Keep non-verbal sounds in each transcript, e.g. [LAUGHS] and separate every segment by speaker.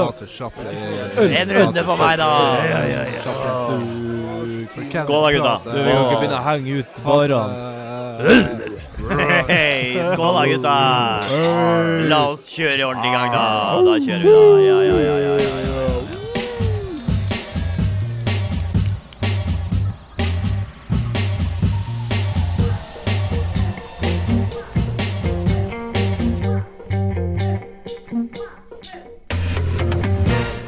Speaker 1: Charter Chaplin.
Speaker 2: En runde på meg, da! Ja, ja, ja.
Speaker 1: Skål
Speaker 2: Skål da, gutta.
Speaker 3: Du vil jo ikke begynne å henge ut [LAUGHS] barene.
Speaker 2: Hei, skål da, gutta! La oss kjøre ordentlig i gang, da. Da kjører vi, da. Ja, ja, ja, ja, ja, ja.
Speaker 1: Eh,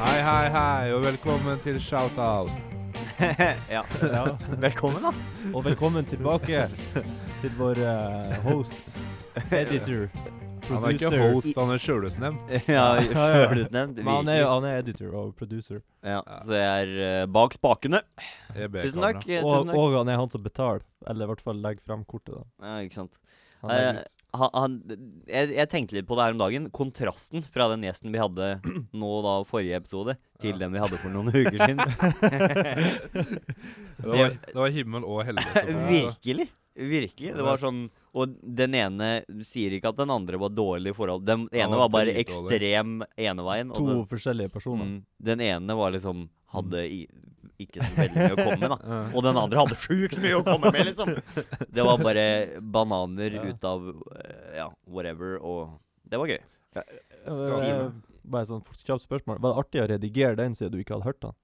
Speaker 1: Hei, hei, hei, og velkommen til Shoutout.
Speaker 2: [LAUGHS] ja. Velkommen, da.
Speaker 3: Og velkommen tilbake til vår eh, host, editor,
Speaker 1: Han er ikke
Speaker 3: producer.
Speaker 1: host, han er sjølutnevnt.
Speaker 2: [LAUGHS] Ja,
Speaker 3: ja.
Speaker 2: Sjølutnevnt.
Speaker 3: Men han er, han er editor og producer.
Speaker 2: Ja, så jeg er eh, bak spakene. Tusen
Speaker 1: [LAUGHS]
Speaker 2: takk. eh,
Speaker 3: Og,
Speaker 2: Tusen takk.
Speaker 3: og han er han som betaler, eller i hvert fall legger frem kortet. da.
Speaker 2: Ja, ikke sant.
Speaker 3: Han legger
Speaker 2: Eh,
Speaker 3: ut.
Speaker 2: Han, han, jeg, jeg tenkte litt på det her om dagen. Kontrasten fra den gjesten vi hadde [CLEARS THROAT] nå da forrige episode, til den vi hadde for noen uker [LAUGHS] siden.
Speaker 1: Det var, det var himmel og
Speaker 2: [LAUGHS]
Speaker 1: helvete. på meg, da.
Speaker 2: Virkelig. Virkelig. Det var sånn Og den ene sier ikke at den andre var dårlig i forhold. Den ene
Speaker 1: var
Speaker 2: var bare
Speaker 1: dritdårlig.
Speaker 2: ekstrem eneveien.
Speaker 3: To
Speaker 2: Og den,
Speaker 3: forskjellige personer.
Speaker 2: mm, den ene var liksom Hadde i, ikke så veldig mye å komme med, da.
Speaker 1: Ja.
Speaker 2: Og den andre hadde sjukt mye å komme med, liksom. Det var bare bananer
Speaker 3: Ja.
Speaker 2: ut av eh, Ja, whatever, og det var gøy.
Speaker 3: Eh, Bare et sånt f- kjapt spørsmål. Var det artig å redigere den siden du ikke hadde hørt den?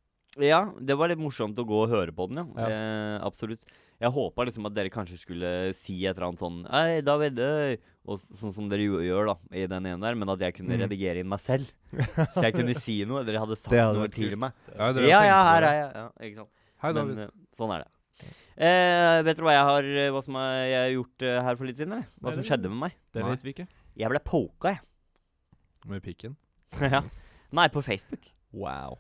Speaker 2: Ja, det var litt morsomt å gå og høre på den, ja.
Speaker 3: Ja.
Speaker 2: Eh, absolutt. Jeg håpa liksom at dere kanskje skulle si et eller annet sånn Hei, David, øy», og s- sånn som dere jo gjør, da, i den ene der, men at jeg kunne
Speaker 3: Mm.
Speaker 2: redigere inn meg selv. Så jeg kunne si noe. Dere hadde sagt
Speaker 3: [LAUGHS] Det hadde
Speaker 2: noe
Speaker 3: vært
Speaker 2: til
Speaker 3: kult.
Speaker 2: meg.
Speaker 1: Ja, dere
Speaker 2: Ja, ja,
Speaker 1: tenkte
Speaker 2: her
Speaker 1: det.
Speaker 2: er jeg. Ja, ikke sant.
Speaker 1: Hei,
Speaker 2: Men
Speaker 1: David.
Speaker 2: eh, sånn er det. Eh, vet dere hva jeg har eh, Hva som er, jeg har gjort eh, her for litt siden? eller? Hva
Speaker 3: Nei,
Speaker 2: som
Speaker 3: det-
Speaker 2: skjedde med meg?
Speaker 3: Det
Speaker 1: Nei.
Speaker 3: vet vi ikke.
Speaker 2: Jeg ble poka, jeg. [LAUGHS]
Speaker 1: Med pikken.
Speaker 2: ja. Nei, på Facebook.
Speaker 3: Wow.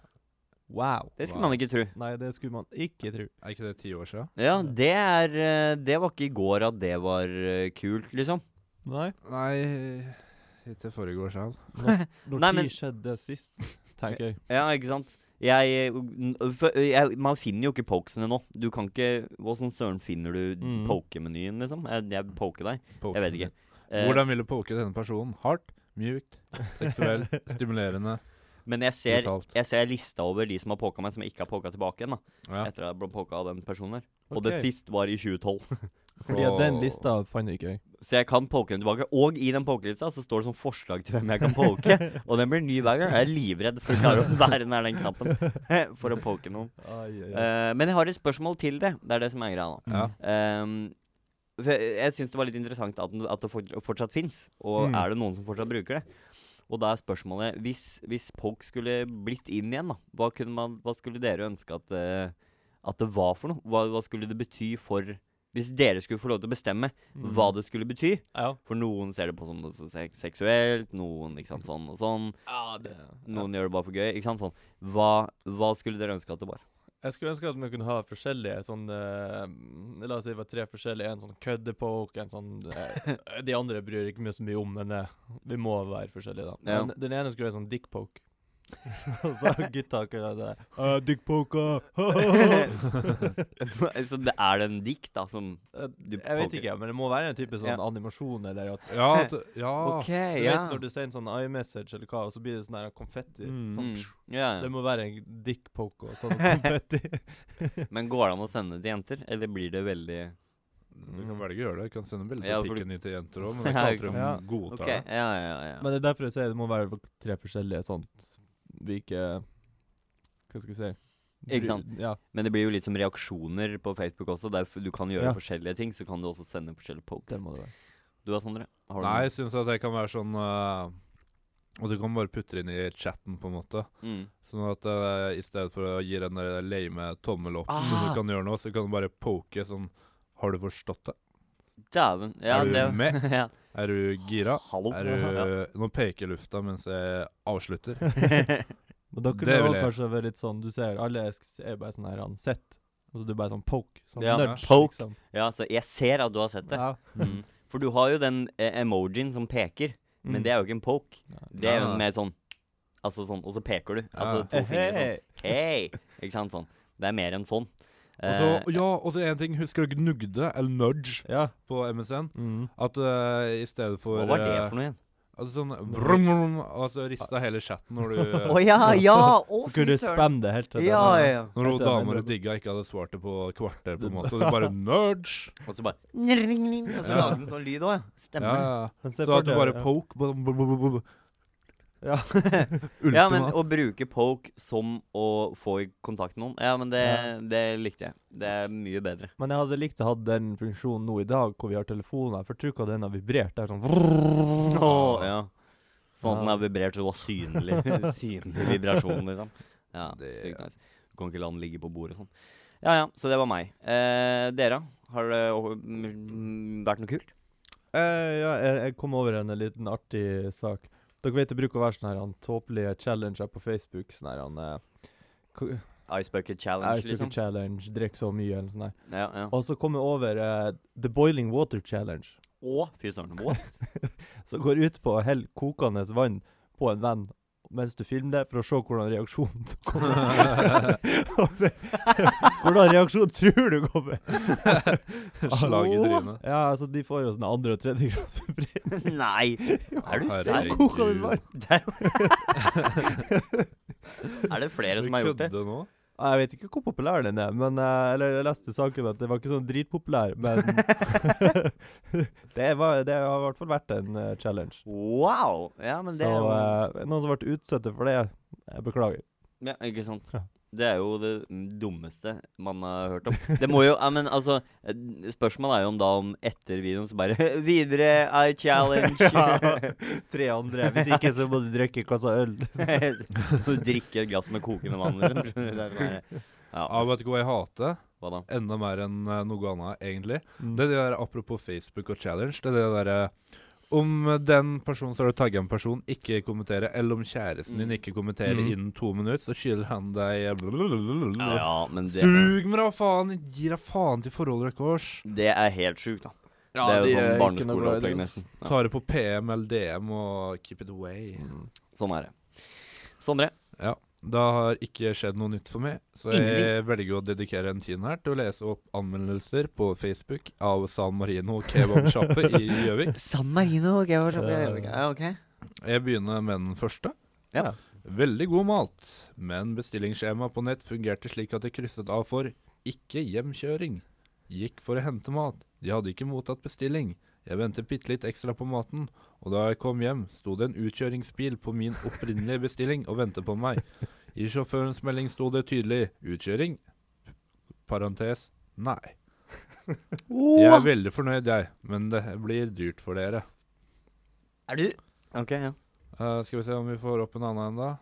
Speaker 3: Wow.
Speaker 2: Det skulle
Speaker 1: Wow.
Speaker 2: man ikke tro.
Speaker 3: Nei, det skulle man ikke tro.
Speaker 1: Er ikke det ti år siden?
Speaker 2: Ja, det er eh, Det var ikke i går at det var eh, kult, liksom.
Speaker 3: Nei.
Speaker 1: Nei, ikke forrige år siden.
Speaker 3: Når
Speaker 2: Nei, men-
Speaker 3: tid skjedde det sist, tenker jeg.
Speaker 2: Ja, ikke sant? Jeg, n- for, jeg, man finner jo ikke pokesene nå. Du kan ikke Hvordan søren finner du
Speaker 3: Mm.
Speaker 2: pokemenyen, liksom? Jeg, jeg poker deg. Jeg vet ikke. Eh,
Speaker 1: Hvordan vil du poke denne personen? Hardt, mjukt, seksuelt,
Speaker 2: [LAUGHS]
Speaker 1: stimulerende,
Speaker 2: men jeg ser,
Speaker 1: brutalt.
Speaker 2: jeg ser lista over de som har poka meg, som jeg ikke har poka tilbake igjen. da
Speaker 1: Ja.
Speaker 2: Etter at jeg ble poka av den personen der. Og det
Speaker 3: Ok.
Speaker 2: sist var i 2012.
Speaker 3: Fordi at den lista fant jeg ikke [LAUGHS] jeg.
Speaker 2: [LAUGHS] Så jeg kan poke den tilbake. Og i den pokelista så står det sånn forslag til hvem jeg kan poke. og den blir ny hver gang. Jeg er livredd for å klare å være nær den
Speaker 3: [LAUGHS]
Speaker 2: knappen for å poke noen. Eh, men jeg har et spørsmål til det. Det er det som er greia nå.
Speaker 3: Mm.
Speaker 1: Ja.
Speaker 2: Ehm, for jeg jeg syns det var litt interessant at, den- at det fort- fortsatt fins. Og
Speaker 3: Mm.
Speaker 2: er det noen som fortsatt bruker det? Og da er spørsmålet Hvis, hvis Poke skulle blitt inn igjen, da, hva, kunne man, hva skulle dere ønske at, eh, at det var for noe? Hva, hva skulle det bety for Hvis dere skulle få lov til å bestemme
Speaker 3: Mm.
Speaker 2: hva det skulle bety
Speaker 3: Ja.
Speaker 2: For noen ser det på som noe så sek- seksuelt, noen ikke sant, sånn og sånn. Noen gjør det bare for gøy. Ikke sant, sånn. Hva, hva skulle dere ønske at det var? [LAUGHS]
Speaker 3: Jeg skulle ønske at vi kunne ha forskjellige sånn eh, La oss si det var tre forskjellige. En sånn køddepoke, en sånn eh, De andre bryr ikke meg så mye om, men eh, vi må være forskjellige, da.
Speaker 2: Ja.
Speaker 3: Men den ene skulle være sånn
Speaker 2: [LAUGHS]
Speaker 3: dickpoke. Og så gutta kunne ha det. Eh, Uh, [LAUGHS] dickpoka!
Speaker 2: så det er det en dikt, da, som Du
Speaker 3: jeg vet
Speaker 2: poker.
Speaker 3: ikke, men det må være en type sånn
Speaker 2: Ja.
Speaker 3: animasjon eller at
Speaker 1: Ja,
Speaker 3: [LAUGHS]
Speaker 1: at, ja.
Speaker 2: OK,
Speaker 3: Du
Speaker 2: ja.
Speaker 3: vet når du sier en sånn iMessage eller hva, og så blir det sånn her konfetti.
Speaker 1: Mm.
Speaker 3: Sånn,
Speaker 2: Mm. Ja,
Speaker 3: Det
Speaker 2: ja.
Speaker 3: må være en dickpoke
Speaker 2: [LAUGHS]
Speaker 3: og sånn konfetti.
Speaker 2: Men går det an å sende det til jenter, eller blir det veldig
Speaker 1: Du kan velge å gjøre det. Du kan sende bilder
Speaker 2: Mm. Ja,
Speaker 1: av
Speaker 2: for du-
Speaker 1: pikken din til jenter
Speaker 2: [LAUGHS]
Speaker 1: òg, men det er ikke
Speaker 2: Ja,
Speaker 1: alltid
Speaker 3: ikke
Speaker 1: de
Speaker 3: sant.
Speaker 1: godtar
Speaker 2: OK, ja, ja, ja.
Speaker 3: Men det er derfor jeg sier det må være for- tre forskjellige sånt vi ikke Hva skal vi si?
Speaker 2: Ikke
Speaker 3: Bry-
Speaker 2: sant?
Speaker 3: Ja.
Speaker 2: Men det blir jo litt som reaksjoner på Facebook også. Der f- du kan gjøre
Speaker 3: Ja.
Speaker 2: forskjellige ting, så kan du også sende forskjellige
Speaker 3: Det
Speaker 2: pokes.
Speaker 3: må det være.
Speaker 2: Du da, Sondre? Har du
Speaker 1: Nei,
Speaker 2: noe?
Speaker 1: jeg syns at det kan være sånn eh, Og du kan bare putte det inn i chatten, på en måte.
Speaker 2: Mm.
Speaker 1: Sånn at eh, i stedet for å gi den der lame tommel opp, som
Speaker 2: Ah.
Speaker 1: du kan gjøre nå, så kan du bare poke sånn Har du forstått det?
Speaker 2: Dæven. Ja,
Speaker 1: Er du
Speaker 2: det-
Speaker 1: med?
Speaker 2: [LAUGHS] ja.
Speaker 1: Er du gira?
Speaker 2: Hallo.
Speaker 1: Er du Nå peker jeg i lufta mens jeg avslutter.
Speaker 2: [LAUGHS]
Speaker 3: [LAUGHS]
Speaker 2: Ja.
Speaker 3: Men da kunne
Speaker 1: Det
Speaker 3: det
Speaker 1: vil
Speaker 3: også
Speaker 1: jeg.
Speaker 3: kanskje være litt sånn Du ser alle er sk- er bare sånn her han sett, og så du bare sånn poke. Sånn
Speaker 2: Ja,
Speaker 3: nudge,
Speaker 2: poke.
Speaker 3: liksom.
Speaker 2: ja, så jeg ser at du har sett det.
Speaker 3: Ja.
Speaker 2: Mm. For du har jo den eh, emojien som peker, men
Speaker 3: Mm.
Speaker 2: det er jo ikke en poke.
Speaker 3: Nei.
Speaker 2: Det er jo
Speaker 1: Ja.
Speaker 2: mer sånn Altså sånn, og så peker du.
Speaker 1: Ja.
Speaker 2: Altså
Speaker 3: Eh,
Speaker 2: to fingre
Speaker 3: [LAUGHS]
Speaker 2: sånn.
Speaker 3: Hei.
Speaker 2: Hei! Ikke sant? Sånn. Det er mer enn sånn.
Speaker 1: Og så-
Speaker 2: Eh,
Speaker 1: ja, og så én ting. Husker du gnugde, eller nudge,
Speaker 3: Ja.
Speaker 1: på MSN?
Speaker 3: Mm.
Speaker 1: At eh, i stedet for
Speaker 2: hva var det
Speaker 1: eh,
Speaker 2: for noe igjen?
Speaker 1: Altså sånn brum, brum, Altså rista hele chatten
Speaker 2: [LAUGHS]
Speaker 1: når du
Speaker 2: Å ja, ja! Å,
Speaker 3: Så
Speaker 2: fy
Speaker 3: kunne du
Speaker 2: søren.
Speaker 3: spamme det helt til
Speaker 2: Ja,
Speaker 3: den-
Speaker 2: ja, ja.
Speaker 1: Når hun
Speaker 3: Helt enig,
Speaker 1: damer du
Speaker 3: bro.
Speaker 1: digga, ikke hadde svart det på et kvarter, på en måte. Og du bare merge!
Speaker 2: Og så bare nring-ring, Og så
Speaker 1: Ja.
Speaker 2: lagde den sånn lyd òg, ja.
Speaker 1: Ja,
Speaker 2: Stemmer.
Speaker 1: ja.
Speaker 2: det.
Speaker 1: ja.
Speaker 3: Men se
Speaker 1: Så
Speaker 3: for
Speaker 1: at du
Speaker 3: deg-
Speaker 1: bare
Speaker 3: ja.
Speaker 1: poke sånn bl- bl- bl- bl- bl- [LAUGHS]
Speaker 3: Ja.
Speaker 1: Ultimat.
Speaker 2: Ja, men å bruke poke som å få i kontakt med noen, ja, men det,
Speaker 3: Ja.
Speaker 2: det likte jeg. Det er mye bedre.
Speaker 3: Men jeg hadde likt å ha den funksjonen nå i dag, hvor vi har telefoner. For tro hva den har vibrert. Det er sånn
Speaker 2: Åh, ja. Sånn at den
Speaker 3: Ja.
Speaker 2: er vibrert så det var synlig. synlig vibrasjon, liksom. Ja,
Speaker 1: Det-
Speaker 2: sykt nice. Du kan ikke la den ligge på bordet og sånn. Ja ja, så det var meg. Eh, dere, har det o- m- vært noe kult?
Speaker 3: Eh, ja, jeg, jeg kom over en liten artig sak. Dere vet det bruker å være sånne her, han tåpelige challenger på Facebook. Sånn her han eh, k-
Speaker 2: Ice Bucket Challenge,
Speaker 3: Ice Bucket
Speaker 2: liksom?
Speaker 3: Challenge, drikk så mye, eller sånn her.
Speaker 2: Ja, ja.
Speaker 3: Og så kom jeg over eh, The Boiling Water Challenge,
Speaker 2: Å, fy søren. What?
Speaker 3: som går ut på å helle kokende vann på en venn mens du filmer det, for å se hvordan reaksjonen [LAUGHS] kommer. Og det- [LAUGHS] hvordan reaksjon tror du kommer?
Speaker 1: [LAUGHS]
Speaker 3: [LAUGHS]
Speaker 1: Slag i trynet.
Speaker 3: Ja, altså, de får jo sånne andre- og tredjegrads
Speaker 2: [LAUGHS]
Speaker 3: febril.
Speaker 2: Nei! Er du
Speaker 1: Herregud.
Speaker 2: serr?
Speaker 3: Kokende vann.
Speaker 2: Det er jo- Er det flere som har gjort det?
Speaker 1: Du kødder nå?
Speaker 3: Ja, Jeg vet ikke hvor populær den er, men eh, Eller jeg leste saken at det var ikke sånn dritpopulær,
Speaker 2: [LAUGHS]
Speaker 3: men [LAUGHS] det, var, det har i hvert fall vært en eh, challenge.
Speaker 2: Wow! Ja, men det
Speaker 3: Så
Speaker 2: er jo
Speaker 3: eh, noen som ble utsatt for det, jeg
Speaker 2: [LAUGHS]
Speaker 3: beklager.
Speaker 2: Ja, ikke sant.
Speaker 3: Ja.
Speaker 2: Det er jo det dummeste man har hørt om. Det må jo ja, Men altså, eh, spørsmålet er jo om da om etter videoen så bare [LAUGHS] Videre, I
Speaker 3: [LAUGHS]
Speaker 2: challenge!
Speaker 3: Tre andre. Hvis ikke, så må du drikke en kasse øl.
Speaker 2: [LAUGHS] du drikker et glass med kokende vann, liksom. Det er sånn her-
Speaker 1: Ja,
Speaker 2: Ja,
Speaker 1: vet du hva jeg hater?
Speaker 2: hva da?
Speaker 1: Enda mer enn eh, noe annet, egentlig.
Speaker 3: Mm.
Speaker 1: Det er det der, Apropos Facebook og challenge. Det er det derre Om den personen som har tagga en person, ikke kommenterer, eller om kjæresten din
Speaker 2: Mm.
Speaker 1: ikke kommenterer
Speaker 3: Mm.
Speaker 1: innen to minutter, så skylder han deg eh,
Speaker 2: Ja, ja, men det
Speaker 1: Sug meg da, faen! Gi deg faen til forholdet deres. Kors.
Speaker 2: Det er helt sjukt, da.
Speaker 3: Ja,
Speaker 2: det er
Speaker 3: de
Speaker 2: jo sånn
Speaker 3: er ikke noe glad i det,
Speaker 2: barneskoleopplegg,
Speaker 3: ass.
Speaker 2: nesten. Ja.
Speaker 1: Ta det på PM eller DM og keep it away.
Speaker 2: Sånn er det. Sondre?
Speaker 1: Ja. Det har ikke skjedd noe nytt for meg, så jeg velger å dedikere en time her til å lese opp anmeldelser på Facebook av San Marino kebabsjappe i Gjøvik.
Speaker 2: San Marino. ok, hva slags-
Speaker 3: Eh.
Speaker 2: ja, ok.
Speaker 1: Jeg begynner med den første.
Speaker 2: Ja.
Speaker 1: Veldig god mat, men bestillingsskjemaet på nett fungerte slik at jeg krysset av for ikke hjemkjøring. Gikk for å hente mat. De hadde ikke mottatt bestilling. Jeg ventet bitte litt ekstra på maten, og da jeg kom hjem, sto det en utkjøringsbil på min opprinnelige bestilling og ventet på meg. I sjåførens melding sto det tydelig 'utkjøring'. Parentes nei. Jeg er veldig fornøyd, jeg, men det blir dyrt for dere.
Speaker 2: Er du Ok, ja.
Speaker 1: Eh, skal vi se om vi får opp en annen en, da.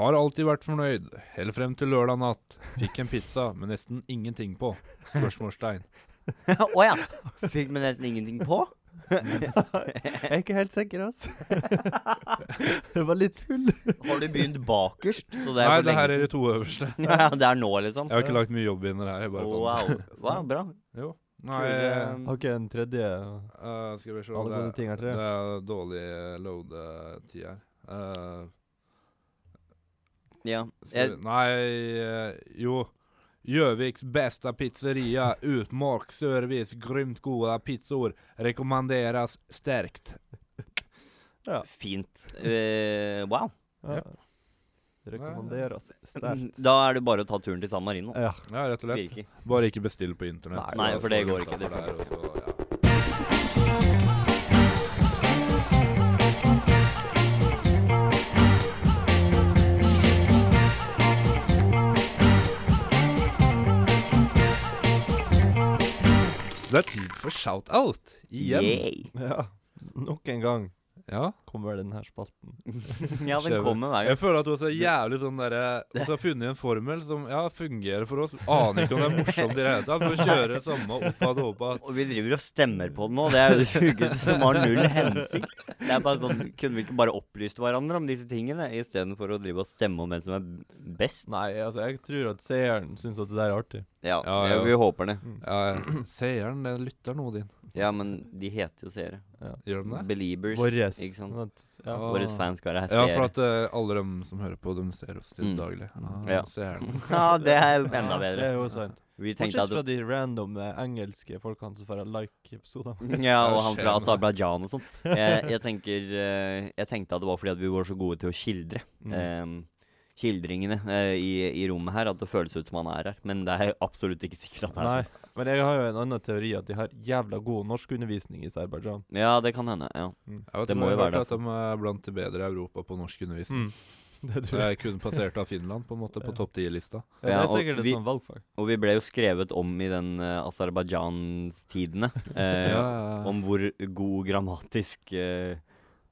Speaker 1: Har alltid vært fornøyd, helt frem til lørdag natt. Fikk en pizza med nesten ingenting på. Spørsmålstegn.
Speaker 2: [LAUGHS] Å ja. Fikk meg nesten ingenting på.
Speaker 3: Jeg er ikke helt sikker, altså. [LAUGHS] Jeg var litt full.
Speaker 2: Har du begynt bakerst? Så det er
Speaker 1: Nei,
Speaker 2: for
Speaker 1: det her
Speaker 2: lenge
Speaker 1: er de
Speaker 2: siden.
Speaker 1: to øverste.
Speaker 2: [LAUGHS] Ja, det er nå, liksom?
Speaker 1: Jeg har ikke lagt mye jobb inn i det her. Jeg bare fant
Speaker 2: Wow. wow. Bra.
Speaker 1: det. Jo. Nei
Speaker 2: Kul, eh,
Speaker 3: Har ikke en tredje
Speaker 1: eh, Skal vi se.
Speaker 3: Alle
Speaker 1: Det,
Speaker 3: gode ting er tre.
Speaker 1: det er dårlig eh, load-tid her. Eh,
Speaker 2: Ja.
Speaker 1: skal
Speaker 2: Jeg,
Speaker 1: vi, nei eh, Jo. Gjøviks bästa pizzeria, utmark, service, grymt goda pizzor. Rekommenderas sterkt.
Speaker 2: fint. Eh, wow.
Speaker 3: ja. Rekommenderes sterkt.
Speaker 2: Da er det bare å ta turen til San Marino.
Speaker 3: Ja.
Speaker 1: Ja, rett og slett.
Speaker 2: Virkelig.
Speaker 1: Bare ikke bestill på internett.
Speaker 3: Nei,
Speaker 2: nei, for det går ikke, det
Speaker 1: Der, og så, ja. Det er tid for shout-out igjen.
Speaker 2: Yay.
Speaker 3: ja. Nok en gang
Speaker 1: Ja.
Speaker 3: kommer denne spalten.
Speaker 2: Ja, velkommen hver
Speaker 1: Jeg føler at du også er jævlig sånn derre
Speaker 2: [LAUGHS]
Speaker 1: Du har funnet en formel som ja, fungerer for oss. Aner ikke om det er morsomt i det hele tatt. Du kjører samme oppad og oppad.
Speaker 2: Og vi driver og stemmer på den nå. Det er jo det sjukeste [LAUGHS] som har null hensikt. Det er bare sånn, Kunne vi ikke bare opplyst hverandre om disse tingene, istedenfor å drive og stemme om hvem som er b- best?
Speaker 3: Nei, altså, jeg tror at seeren syns at det der er artig.
Speaker 2: Ja,
Speaker 1: Ja,
Speaker 2: ja,
Speaker 1: ja.
Speaker 2: vi håper det.
Speaker 1: [CLEARS THROAT] Ja, Seeren, den lytter nå, din.
Speaker 2: Ja, men de heter jo seere.
Speaker 1: Gjør de det?
Speaker 2: Beliebers.
Speaker 3: Våres.
Speaker 2: Ikke sant?
Speaker 3: men at- Ja.
Speaker 1: Ah.
Speaker 2: Våre fans skal være
Speaker 1: Ja, for
Speaker 2: seere.
Speaker 1: at eh, alle dem som hører på, de ser oss til
Speaker 2: Mm.
Speaker 1: daglig. Ah,
Speaker 2: Ja.
Speaker 1: ser dem.
Speaker 2: [LAUGHS] Ja, det er enda
Speaker 3: Det
Speaker 2: bedre.
Speaker 3: er jo sant.
Speaker 2: Vi tenkte at
Speaker 3: Bortsett fra de random eh, engelske folkene som får like episoder.
Speaker 2: [LAUGHS] Ja, og han fra
Speaker 1: Skjebne.
Speaker 2: Aserbajdsjan og sånn. Jeg, jeg, tenker, eh, jeg tenkte at det var fordi at vi var så gode til å skildre.
Speaker 3: Mm.
Speaker 2: eh, Skildringene eh, i, i rommet her, at det føles ut som han er her. Men det er absolutt ikke sikkert at han
Speaker 3: Nei,
Speaker 2: er sånn.
Speaker 3: men jeg har jo en annen teori at de har jævla god norskundervisning i Aserbajdsjan.
Speaker 2: sånn. Ja, det kan hende. ja
Speaker 1: Jeg vet,
Speaker 2: Det
Speaker 1: det
Speaker 2: må
Speaker 1: må
Speaker 2: jo være
Speaker 1: At de er blant de bedre i Europa på norsk undervisning. [LAUGHS]
Speaker 3: Mm. [LAUGHS] Det
Speaker 1: Så
Speaker 3: tror jeg.
Speaker 1: jeg er kun passert av Finland, på en måte, på topp 10-lista.
Speaker 3: Ja, det
Speaker 2: Ja,
Speaker 3: er
Speaker 2: og
Speaker 3: sikkert et
Speaker 2: vi-
Speaker 3: sånn valgfag.
Speaker 2: Og vi ble jo skrevet om i den uh, Aserbajdsjans-tidene.
Speaker 1: Ja, ja,
Speaker 2: eh,
Speaker 1: ja.
Speaker 2: Om hvor god grammatisk uh,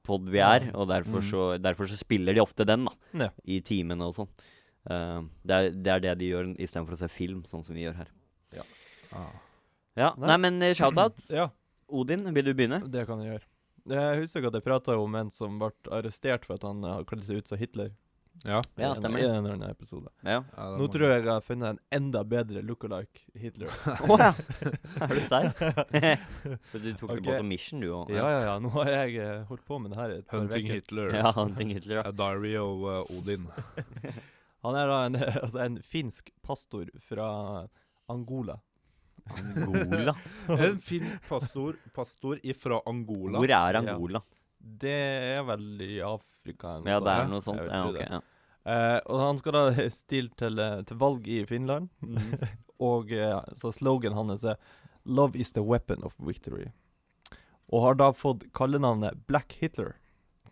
Speaker 2: pod vi er.
Speaker 3: Ja.
Speaker 2: Og derfor
Speaker 3: Mm.
Speaker 2: så, derfor så spiller de ofte den, da.
Speaker 3: Ja.
Speaker 2: I timene og sånn. Eh, det, er, det er det de gjør istedenfor å se film, sånn som vi gjør her.
Speaker 1: Ah.
Speaker 2: Ja,
Speaker 3: Nei.
Speaker 2: Nei, men eh, shout-out.
Speaker 3: Ja,
Speaker 2: Odin, vil du begynne?
Speaker 3: det kan jeg gjøre. Jeg husker ikke at jeg prata om en som ble arrestert for at han eh, kledde seg ut som Hitler.
Speaker 1: Ja.
Speaker 2: Ja,
Speaker 3: I en-
Speaker 2: stemmer
Speaker 3: I
Speaker 2: det.
Speaker 3: en eller annen episode.
Speaker 2: Ja.
Speaker 1: Ja, det
Speaker 3: Nå
Speaker 1: må-
Speaker 3: tror jeg jeg har funnet en enda bedre look-alike Hitler.
Speaker 2: [LAUGHS] Å ja! Er du [LAUGHS] seig? For du tok det på
Speaker 3: Ok.
Speaker 2: som mission, du òg.
Speaker 3: Ja, ja, ja. Nå har jeg eh, holdt på med det her i et par
Speaker 1: Hunting
Speaker 3: veker.
Speaker 1: Hitler.
Speaker 2: ja, Hunting Hitler, ja.
Speaker 1: A diary of eh, Odin. [LAUGHS]
Speaker 3: Han er da en, [LAUGHS] altså en finsk pastor fra Angola.
Speaker 2: Angola.
Speaker 1: En finsk pastor, pastor ifra Angola.
Speaker 2: [LAUGHS] Hvor er
Speaker 3: Ja.
Speaker 2: Angola?
Speaker 3: Det er vel i Afrika eller
Speaker 2: Ja, det er
Speaker 1: Ja,
Speaker 2: noe sånt.
Speaker 3: jeg
Speaker 2: Ja,
Speaker 3: tror
Speaker 2: ok.
Speaker 3: det.
Speaker 2: Ja.
Speaker 3: Eh, og han skal da [LAUGHS] stille til, eh, til valg i Finland, og eh, så slogan hans er 'Love is the weapon of victory'. Og har da fått kallenavnet Black Hitler.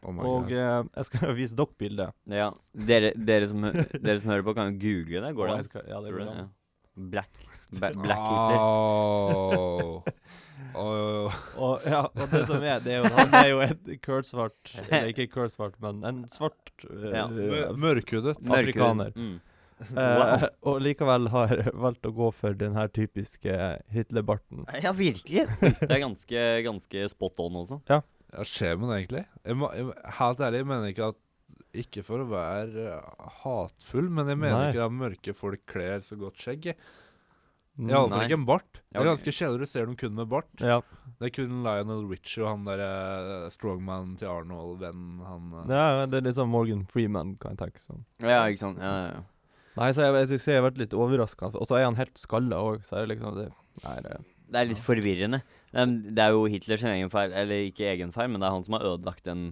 Speaker 1: Oh my
Speaker 3: Og
Speaker 1: God.
Speaker 3: eh, jeg skal [LAUGHS] vise dere bildet.
Speaker 2: Ja, dere, dere, som, hø- dere som hører på, kan jo google det. Går
Speaker 3: Og
Speaker 2: det
Speaker 3: jeg
Speaker 2: an?
Speaker 3: skal- Ja, det
Speaker 2: Tror
Speaker 3: går
Speaker 2: du det?
Speaker 3: an.
Speaker 2: Ja. Black, ba, Black Hitler.
Speaker 1: Au.
Speaker 2: [LAUGHS]
Speaker 1: Au.
Speaker 3: Og, ja, og det som er, det er jo han er jo en kølsvart Eller ikke kølsvart, men en svart eh,
Speaker 2: Ja.
Speaker 1: Mør- Mørkhudet.
Speaker 2: Mørkere-
Speaker 3: Ah, Afrikaner.
Speaker 2: Mm.
Speaker 3: Eh, og likevel har valgt å gå for den her typiske Hitlerbarten. [LAUGHS]
Speaker 2: Ja, virkelig. Det er ganske, ganske spot on også.
Speaker 1: Ja, skjer med det, egentlig? Jeg må, jeg, helt ærlig, jeg mener ikke at Ikke for å være eh, hatfull, men jeg mener
Speaker 3: Nei.
Speaker 1: ikke at mørke folk kler så godt skjegg. jeg.
Speaker 3: Mm.
Speaker 1: Iallfall
Speaker 2: Nei.
Speaker 1: ikke en bart. Det
Speaker 2: Ja,
Speaker 1: er
Speaker 2: ok.
Speaker 1: ganske sjelden du ser noen kun med bart.
Speaker 3: Ja.
Speaker 1: Det er kun Lionel Richie og han der eh, strongman til Arnold, vennen han eh.
Speaker 3: ja, det er litt sånn Morgan Freeman, kan jeg tenke sånn.
Speaker 2: Ja, ikke sant. Ja, ja, ja.
Speaker 3: Nei, så jeg, jeg, synes jeg har vært litt overraska. Og så er han helt skalla òg, så er det liksom det, Nei, det
Speaker 2: Det er litt forvirrende. Men Det er jo Hitlers egen feil, eller ikke egen feil, men det er han som har ødelagt den.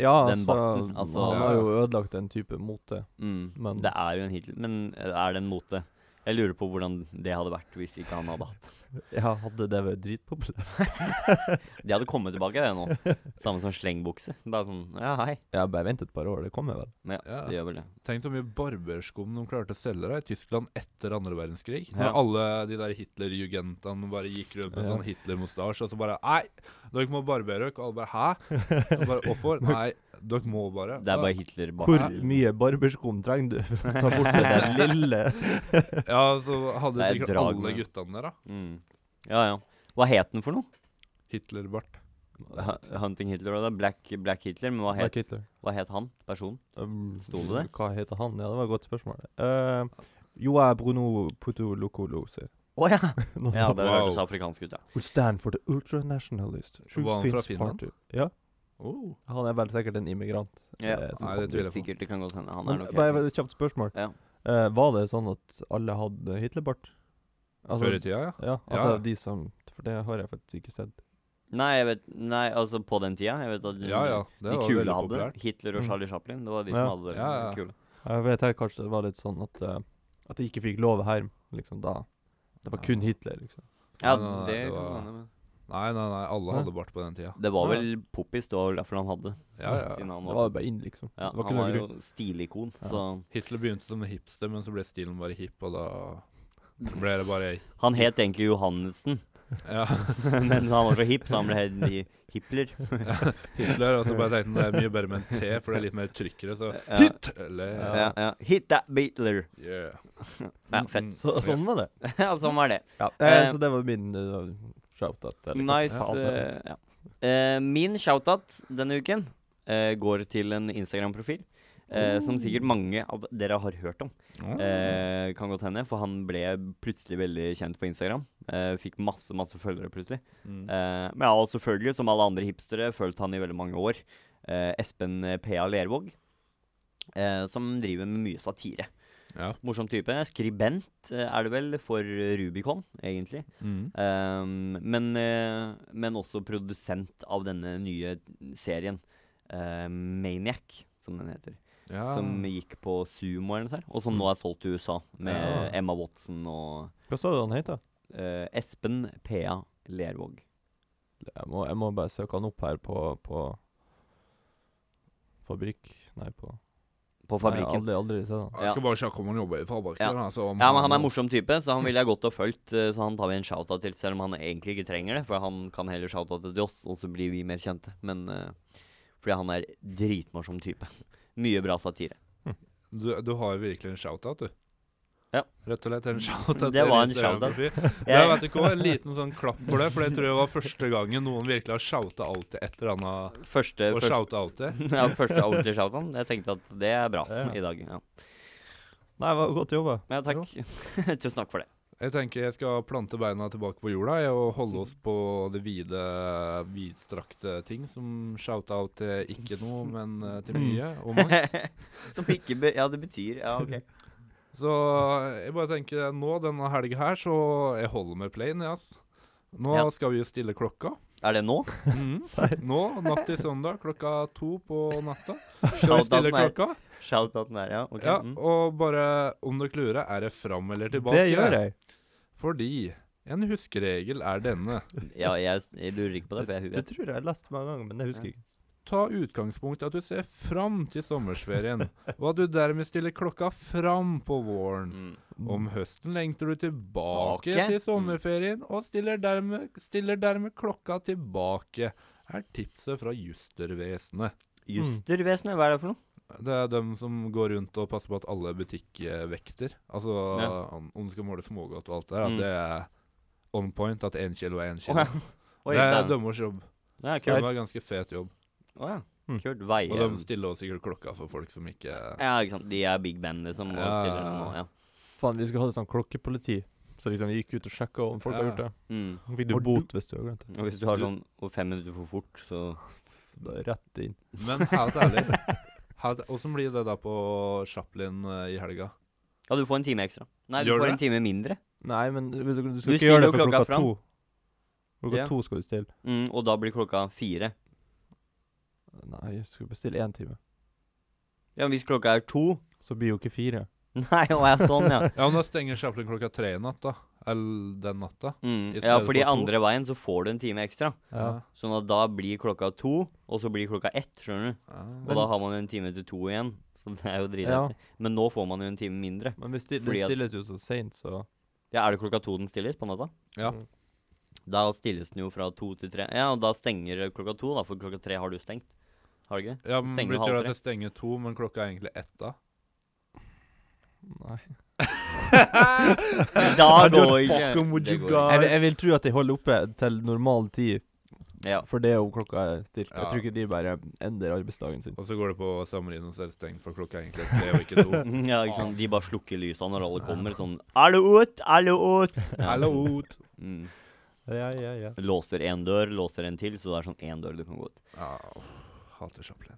Speaker 3: Ja,
Speaker 2: Den
Speaker 3: altså,
Speaker 2: barten, altså-
Speaker 3: Han har jo ødelagt en type mote.
Speaker 2: Mm.
Speaker 3: Men-
Speaker 2: Det er jo en Hitler, men eh, er det en mote? Jeg lurer på hvordan det hadde vært hvis ikke han hadde hatt.
Speaker 3: Ja, hadde det vært dritpopulært?
Speaker 2: De hadde kommet tilbake, [LAUGHS] det nå. Samme som slengbukse. Bare sånn Ja, hei.
Speaker 3: Jeg har bare ventet et par år, det kommer vel.
Speaker 2: Men ja,
Speaker 1: Ja.
Speaker 2: det gjør vel det.
Speaker 1: Tenk hvor mye barberskum de klarte å selge da i Tyskland etter andre verdenskrig.
Speaker 2: Ja.
Speaker 1: Når alle de der Hitler-jugentene bare gikk rundt med
Speaker 3: Ja.
Speaker 1: sånn Hitler-mustasje, og så bare Nei, dere må barbere dere. Og alle bare Hæ? Og bare,
Speaker 2: [LAUGHS]
Speaker 1: Hvorfor? Nei, dere må bare.
Speaker 2: Det er bare Hitler bak.
Speaker 3: Hvor mye barberskum trenger
Speaker 2: [LAUGHS]
Speaker 3: du for å ta bort det der lille
Speaker 1: Ja, så hadde
Speaker 2: Det er
Speaker 1: sikkert
Speaker 2: drag
Speaker 1: alle
Speaker 2: med-
Speaker 1: guttene der, da.
Speaker 2: Mm. Ja, ja. Hva het den for noe?
Speaker 1: Hitler-bart.
Speaker 2: Hu- Hunting Hitler og det er Black, Black Hitler, men hva
Speaker 3: Black
Speaker 2: het,
Speaker 3: Hitler?
Speaker 2: hva het han? Personen?
Speaker 3: Um,
Speaker 2: Sto det det?
Speaker 3: Hva heter han? Ja, det var et godt spørsmål. Uh, Joa Bruno [LAUGHS] Putolokolosi.
Speaker 2: Å ja! ja [LAUGHS] det
Speaker 1: Wow.
Speaker 2: hørtes afrikansk ut, ja.
Speaker 3: Would stand for the ultranationalist. True
Speaker 1: Var han fra
Speaker 3: Finns
Speaker 1: Finland?
Speaker 3: Party. Ja,
Speaker 1: Oh.
Speaker 3: han er vel sikkert en immigrant.
Speaker 2: Ja.
Speaker 3: eh, som
Speaker 1: Nei,
Speaker 3: kom
Speaker 1: det
Speaker 3: til-
Speaker 1: tviler jeg på.
Speaker 2: Sikkert det kan godt hende. Han er
Speaker 3: Men
Speaker 2: nok
Speaker 3: Bare
Speaker 2: helt-
Speaker 3: et kjapt spørsmål.
Speaker 2: Ja.
Speaker 3: Eh, var det sånn at alle hadde Hitlerbart? Altså,
Speaker 1: Før i tida, ja.
Speaker 3: Ja, altså
Speaker 1: Ja.
Speaker 3: de som For det har jeg faktisk ikke sett.
Speaker 2: Nei, jeg vet, nei, altså på den tida. Jeg vet at
Speaker 1: Ja ja, det
Speaker 2: de
Speaker 1: var
Speaker 2: kule
Speaker 1: veldig
Speaker 2: hadde
Speaker 1: populært.
Speaker 2: det. Hitler og
Speaker 3: Mm.
Speaker 2: Charlie Chaplin. Det var de
Speaker 3: Ja.
Speaker 2: som hadde det.
Speaker 1: Ja, ja.
Speaker 2: Kule.
Speaker 3: Jeg vet jeg kanskje det var litt sånn at eh, At de ikke fikk lov her, liksom, da. Det var
Speaker 1: Ja.
Speaker 3: kun Hitler, liksom.
Speaker 2: ja
Speaker 1: Nei, nei, nei,
Speaker 2: det,
Speaker 1: det
Speaker 2: kan
Speaker 1: var-
Speaker 2: hende. men-
Speaker 1: Nei, nei, nei, alle
Speaker 3: Hæ?
Speaker 1: hadde bart på den tida.
Speaker 2: Det var
Speaker 3: Ja.
Speaker 2: vel poppis, det var vel derfor han hadde det.
Speaker 1: Ja, ja.
Speaker 2: Siden han var,
Speaker 3: Det var bare inn, liksom.
Speaker 2: ja,
Speaker 3: det var ikke
Speaker 2: han
Speaker 3: noe
Speaker 2: var jo
Speaker 3: grunn.
Speaker 2: stilikon,
Speaker 3: Ja.
Speaker 2: så
Speaker 1: Hitler begynte som hipster, men så ble stilen bare hip, og da
Speaker 2: [LAUGHS]
Speaker 1: ble det bare
Speaker 2: Han het egentlig Johannessen,
Speaker 3: [LAUGHS]
Speaker 1: Ja.
Speaker 2: men han var så hip, så han ble helt hi- Hitler.
Speaker 1: Hitler, og så bare tenkte han det er mye bedre med en T, for det er litt mer trykkere, så
Speaker 2: Ja.
Speaker 1: Hitler!
Speaker 2: Ja, ja. Hit that Beatler. [LAUGHS]
Speaker 1: Yeah. Mm,
Speaker 2: Ja, fett.
Speaker 3: Så, sånn var det.
Speaker 2: Ja, sånn var det.
Speaker 3: Ja,
Speaker 2: Eh,
Speaker 3: eh, så det var min uh, shout-out. eller hva
Speaker 2: Nice.
Speaker 3: faen det er.
Speaker 2: eh, ja. Eh, min shoutout denne uken eh, går til en Instagram-profil. eh, som sikkert mange av dere har hørt om.
Speaker 1: Mm.
Speaker 2: Eh, kan godt hende, for han ble plutselig veldig kjent på Instagram. Eh, fikk masse, masse følgere plutselig.
Speaker 1: Mm.
Speaker 2: Eh, men jeg har selvfølgelig, som alle andre hipstere, fulgt han i veldig mange år. Eh, Espen eh, P.A. Lervåg, eh, som driver med mye satire.
Speaker 1: Ja.
Speaker 2: Morsom type. Skribent eh, er det vel for Rubicon, egentlig.
Speaker 1: Mm.
Speaker 2: Ehm, men, eh, men også produsent av denne nye serien, eh, Maniac, som den heter.
Speaker 1: Ja.
Speaker 3: Ah.
Speaker 2: Som gikk på Sumo eller noe sånt, og som
Speaker 3: Mm.
Speaker 2: nå er solgt til USA, med
Speaker 1: Ja.
Speaker 2: Emma Watson og
Speaker 3: Hva sa du han het? da?
Speaker 2: eh, Espen P.A. Lervåg.
Speaker 3: Jeg må, jeg må bare søke han opp her på, på Fabrikk Nei, på
Speaker 2: På fabrikken.
Speaker 3: Nei, aldri, aldri sett han.
Speaker 1: Jeg skal bare sjekke om han jobber i fabrikken.
Speaker 2: Ja.
Speaker 1: altså, om
Speaker 2: Ja, men han er en morsom type, så han ville jeg godt ha fulgt. eh, Så han tar vi en shoutout til, selv om han egentlig ikke trenger det. For han kan heller shoutoute til oss, og så blir vi mer kjente. Men eh, fordi han er dritmorsom type. [LAUGHS] Mye bra satire.
Speaker 1: Du, du har jo virkelig en shoutout, du.
Speaker 2: Ja.
Speaker 1: Rett og slett en shoutout.
Speaker 2: Det var en [LAUGHS]
Speaker 1: Jeg vet ikke hva, En liten sånn klapp for det, for det tror jeg var første gangen noen virkelig har shouta alt til et eller annet.
Speaker 2: Første,
Speaker 1: Og
Speaker 2: første,
Speaker 1: shouta alt til.
Speaker 2: [LAUGHS] ja, første ordentlige shoutouten. Jeg tenkte at det er bra
Speaker 3: Ja.
Speaker 2: i dag. Ja,
Speaker 3: Nei, hva- godt jobba.
Speaker 2: ja takk. [LAUGHS] Tusen takk for det.
Speaker 1: Jeg tenker jeg skal plante beina tilbake på jorda jeg, og holde oss på det vide, vidstrakte ting, som shoutout til ikke noe, men eh, til mye. Og mange.
Speaker 2: [LAUGHS] Som ikke be Ja, det betyr Ja, OK.
Speaker 1: Så jeg bare tenker eh, nå denne helga her, så jeg holder med plane, jeg, ass. Nå
Speaker 2: Ja.
Speaker 1: skal vi jo stille klokka.
Speaker 2: Er det nå?
Speaker 1: Mhm. Nå, natt til søndag, klokka to på natta. Skal vi
Speaker 2: Shoutouten
Speaker 1: stille
Speaker 2: er-
Speaker 1: klokka?
Speaker 2: Shoutouten der, ja. ok.
Speaker 1: Ja,
Speaker 2: mm.
Speaker 1: og bare om dere lurer, er det fram eller tilbake?
Speaker 3: Det gjør jeg.
Speaker 1: Fordi en huskeregel er denne.
Speaker 2: ja jeg, jeg lurer ikke på det, for jeg
Speaker 3: Det
Speaker 2: vet
Speaker 3: tror jeg jeg har lest mange ganger, men jeg husker ikke.
Speaker 1: Ta utgangspunkt i at du ser fram til sommersferien, og at du dermed stiller klokka fram på våren.
Speaker 2: mm.
Speaker 1: Om høsten lengter du tilbake
Speaker 2: Tilbake? Mm.
Speaker 1: til sommerferien, og stiller dermed, stiller dermed klokka tilbake, er tipset fra justervesenet.
Speaker 2: Justervesenet, hva er det for noe?
Speaker 1: Det er dem som går rundt og passer på at alle butikkvekter, altså
Speaker 2: Ja.
Speaker 1: om om du skal måle smågodt og alt det der,
Speaker 2: Mm.
Speaker 1: at det er on point at én kilo er én
Speaker 2: Å
Speaker 1: kilo.
Speaker 2: Oi,
Speaker 1: det er
Speaker 2: da-
Speaker 1: dømmers jobb.
Speaker 2: Ja,
Speaker 1: Så det
Speaker 2: kult.
Speaker 1: var en ganske fet jobb.
Speaker 2: Å ja.
Speaker 3: Mm.
Speaker 2: Kult.
Speaker 1: Og
Speaker 2: Veier
Speaker 1: de stiller også sikkert klokka for folk som ikke
Speaker 2: Ja, ikke sant. De er big band, liksom. Og
Speaker 1: Ja.
Speaker 2: stiller den nå, ja.
Speaker 3: Faen, vi skulle hatt sånn klokkepoliti. Så liksom vi gikk ut og sjekka om folk har
Speaker 1: Ja.
Speaker 3: gjort det.
Speaker 2: Mm.
Speaker 3: Fikk du
Speaker 1: Har du-
Speaker 3: bot hvis du har glemt det?
Speaker 2: Og hvis du har sånn og fem minutter for fort, så
Speaker 3: Da er det Rett inn.
Speaker 1: Men helt ærlig, helt- åssen blir det da på Chaplin eh, i helga?
Speaker 2: Ja, du får en time ekstra. Nei, du
Speaker 1: Gjør du
Speaker 2: får en
Speaker 1: det?
Speaker 2: time mindre.
Speaker 3: Nei, men hvis du, du
Speaker 2: Du
Speaker 3: skal ikke gjøre
Speaker 2: stiller jo
Speaker 3: det før
Speaker 2: klokka
Speaker 3: klokka
Speaker 2: fram.
Speaker 3: to. Klokka
Speaker 2: Ja.
Speaker 3: to skal du stille.
Speaker 2: Mm, og da blir klokka fire.
Speaker 3: Nei, jeg skulle bestille én time.
Speaker 2: Ja, hvis klokka er to [LAUGHS]
Speaker 3: Så blir jo ikke fire.
Speaker 2: Nei, å ja, sånn, ja.
Speaker 1: Ja, men da stenger Chaplin klokka tre i natt, da. Eller den natta.
Speaker 2: Mm.
Speaker 1: I
Speaker 2: Ja,
Speaker 1: stedet
Speaker 2: fordi
Speaker 1: for to.
Speaker 2: andre veien så får du en time ekstra.
Speaker 3: [LAUGHS] Ja.
Speaker 2: Sånn at da blir klokka to, og så blir klokka ett, skjønner du.
Speaker 1: Ja.
Speaker 2: Og da har man jo en time til to igjen. Så det er jo dritdeilig. Men nå får man jo en time mindre.
Speaker 3: Men hvis det,
Speaker 2: Fordi
Speaker 3: det
Speaker 2: at-
Speaker 3: stilles jo så seint, så Mm.
Speaker 2: Ja, er det klokka to den stilles på natta?
Speaker 1: Ja.
Speaker 2: Da stilles den jo fra to til tre. Ja, og da stenger klokka to, da, for klokka tre har du stengt. Har du ikke?
Speaker 1: Ja, men
Speaker 2: Stenger
Speaker 1: blir
Speaker 2: halv
Speaker 1: det at
Speaker 2: tre.
Speaker 1: det stenger to, men klokka er egentlig ett
Speaker 2: [LAUGHS]
Speaker 1: da?
Speaker 3: Nei.
Speaker 2: Da
Speaker 1: I just
Speaker 2: går ikke
Speaker 1: fucking with
Speaker 2: det
Speaker 1: you guys.
Speaker 2: går ikke.
Speaker 3: Jeg, vil- jeg vil tro at de holder oppe til normal tid,
Speaker 2: Ja. [LAUGHS]
Speaker 3: for det er jo klokka er stilt.
Speaker 1: Ja.
Speaker 3: Jeg tror ikke de bare endrer arbeidsdagen [LAUGHS] sin.
Speaker 1: Og så går det på Samarino, så er det stengt, for klokka er egentlig tre og ikke to.
Speaker 2: [LAUGHS] ja, ikke sant. De bare slukker lysa når alle kommer. Sånn Alle ut! Alle ut! Ja.
Speaker 1: Ah. Hallo! ut.
Speaker 2: Mm.
Speaker 3: Ja, ja, ja.
Speaker 2: Låser én dør, låser en til, så det er sånn én dør du kan gå ut.
Speaker 1: Ja, åh, hater Chaplin.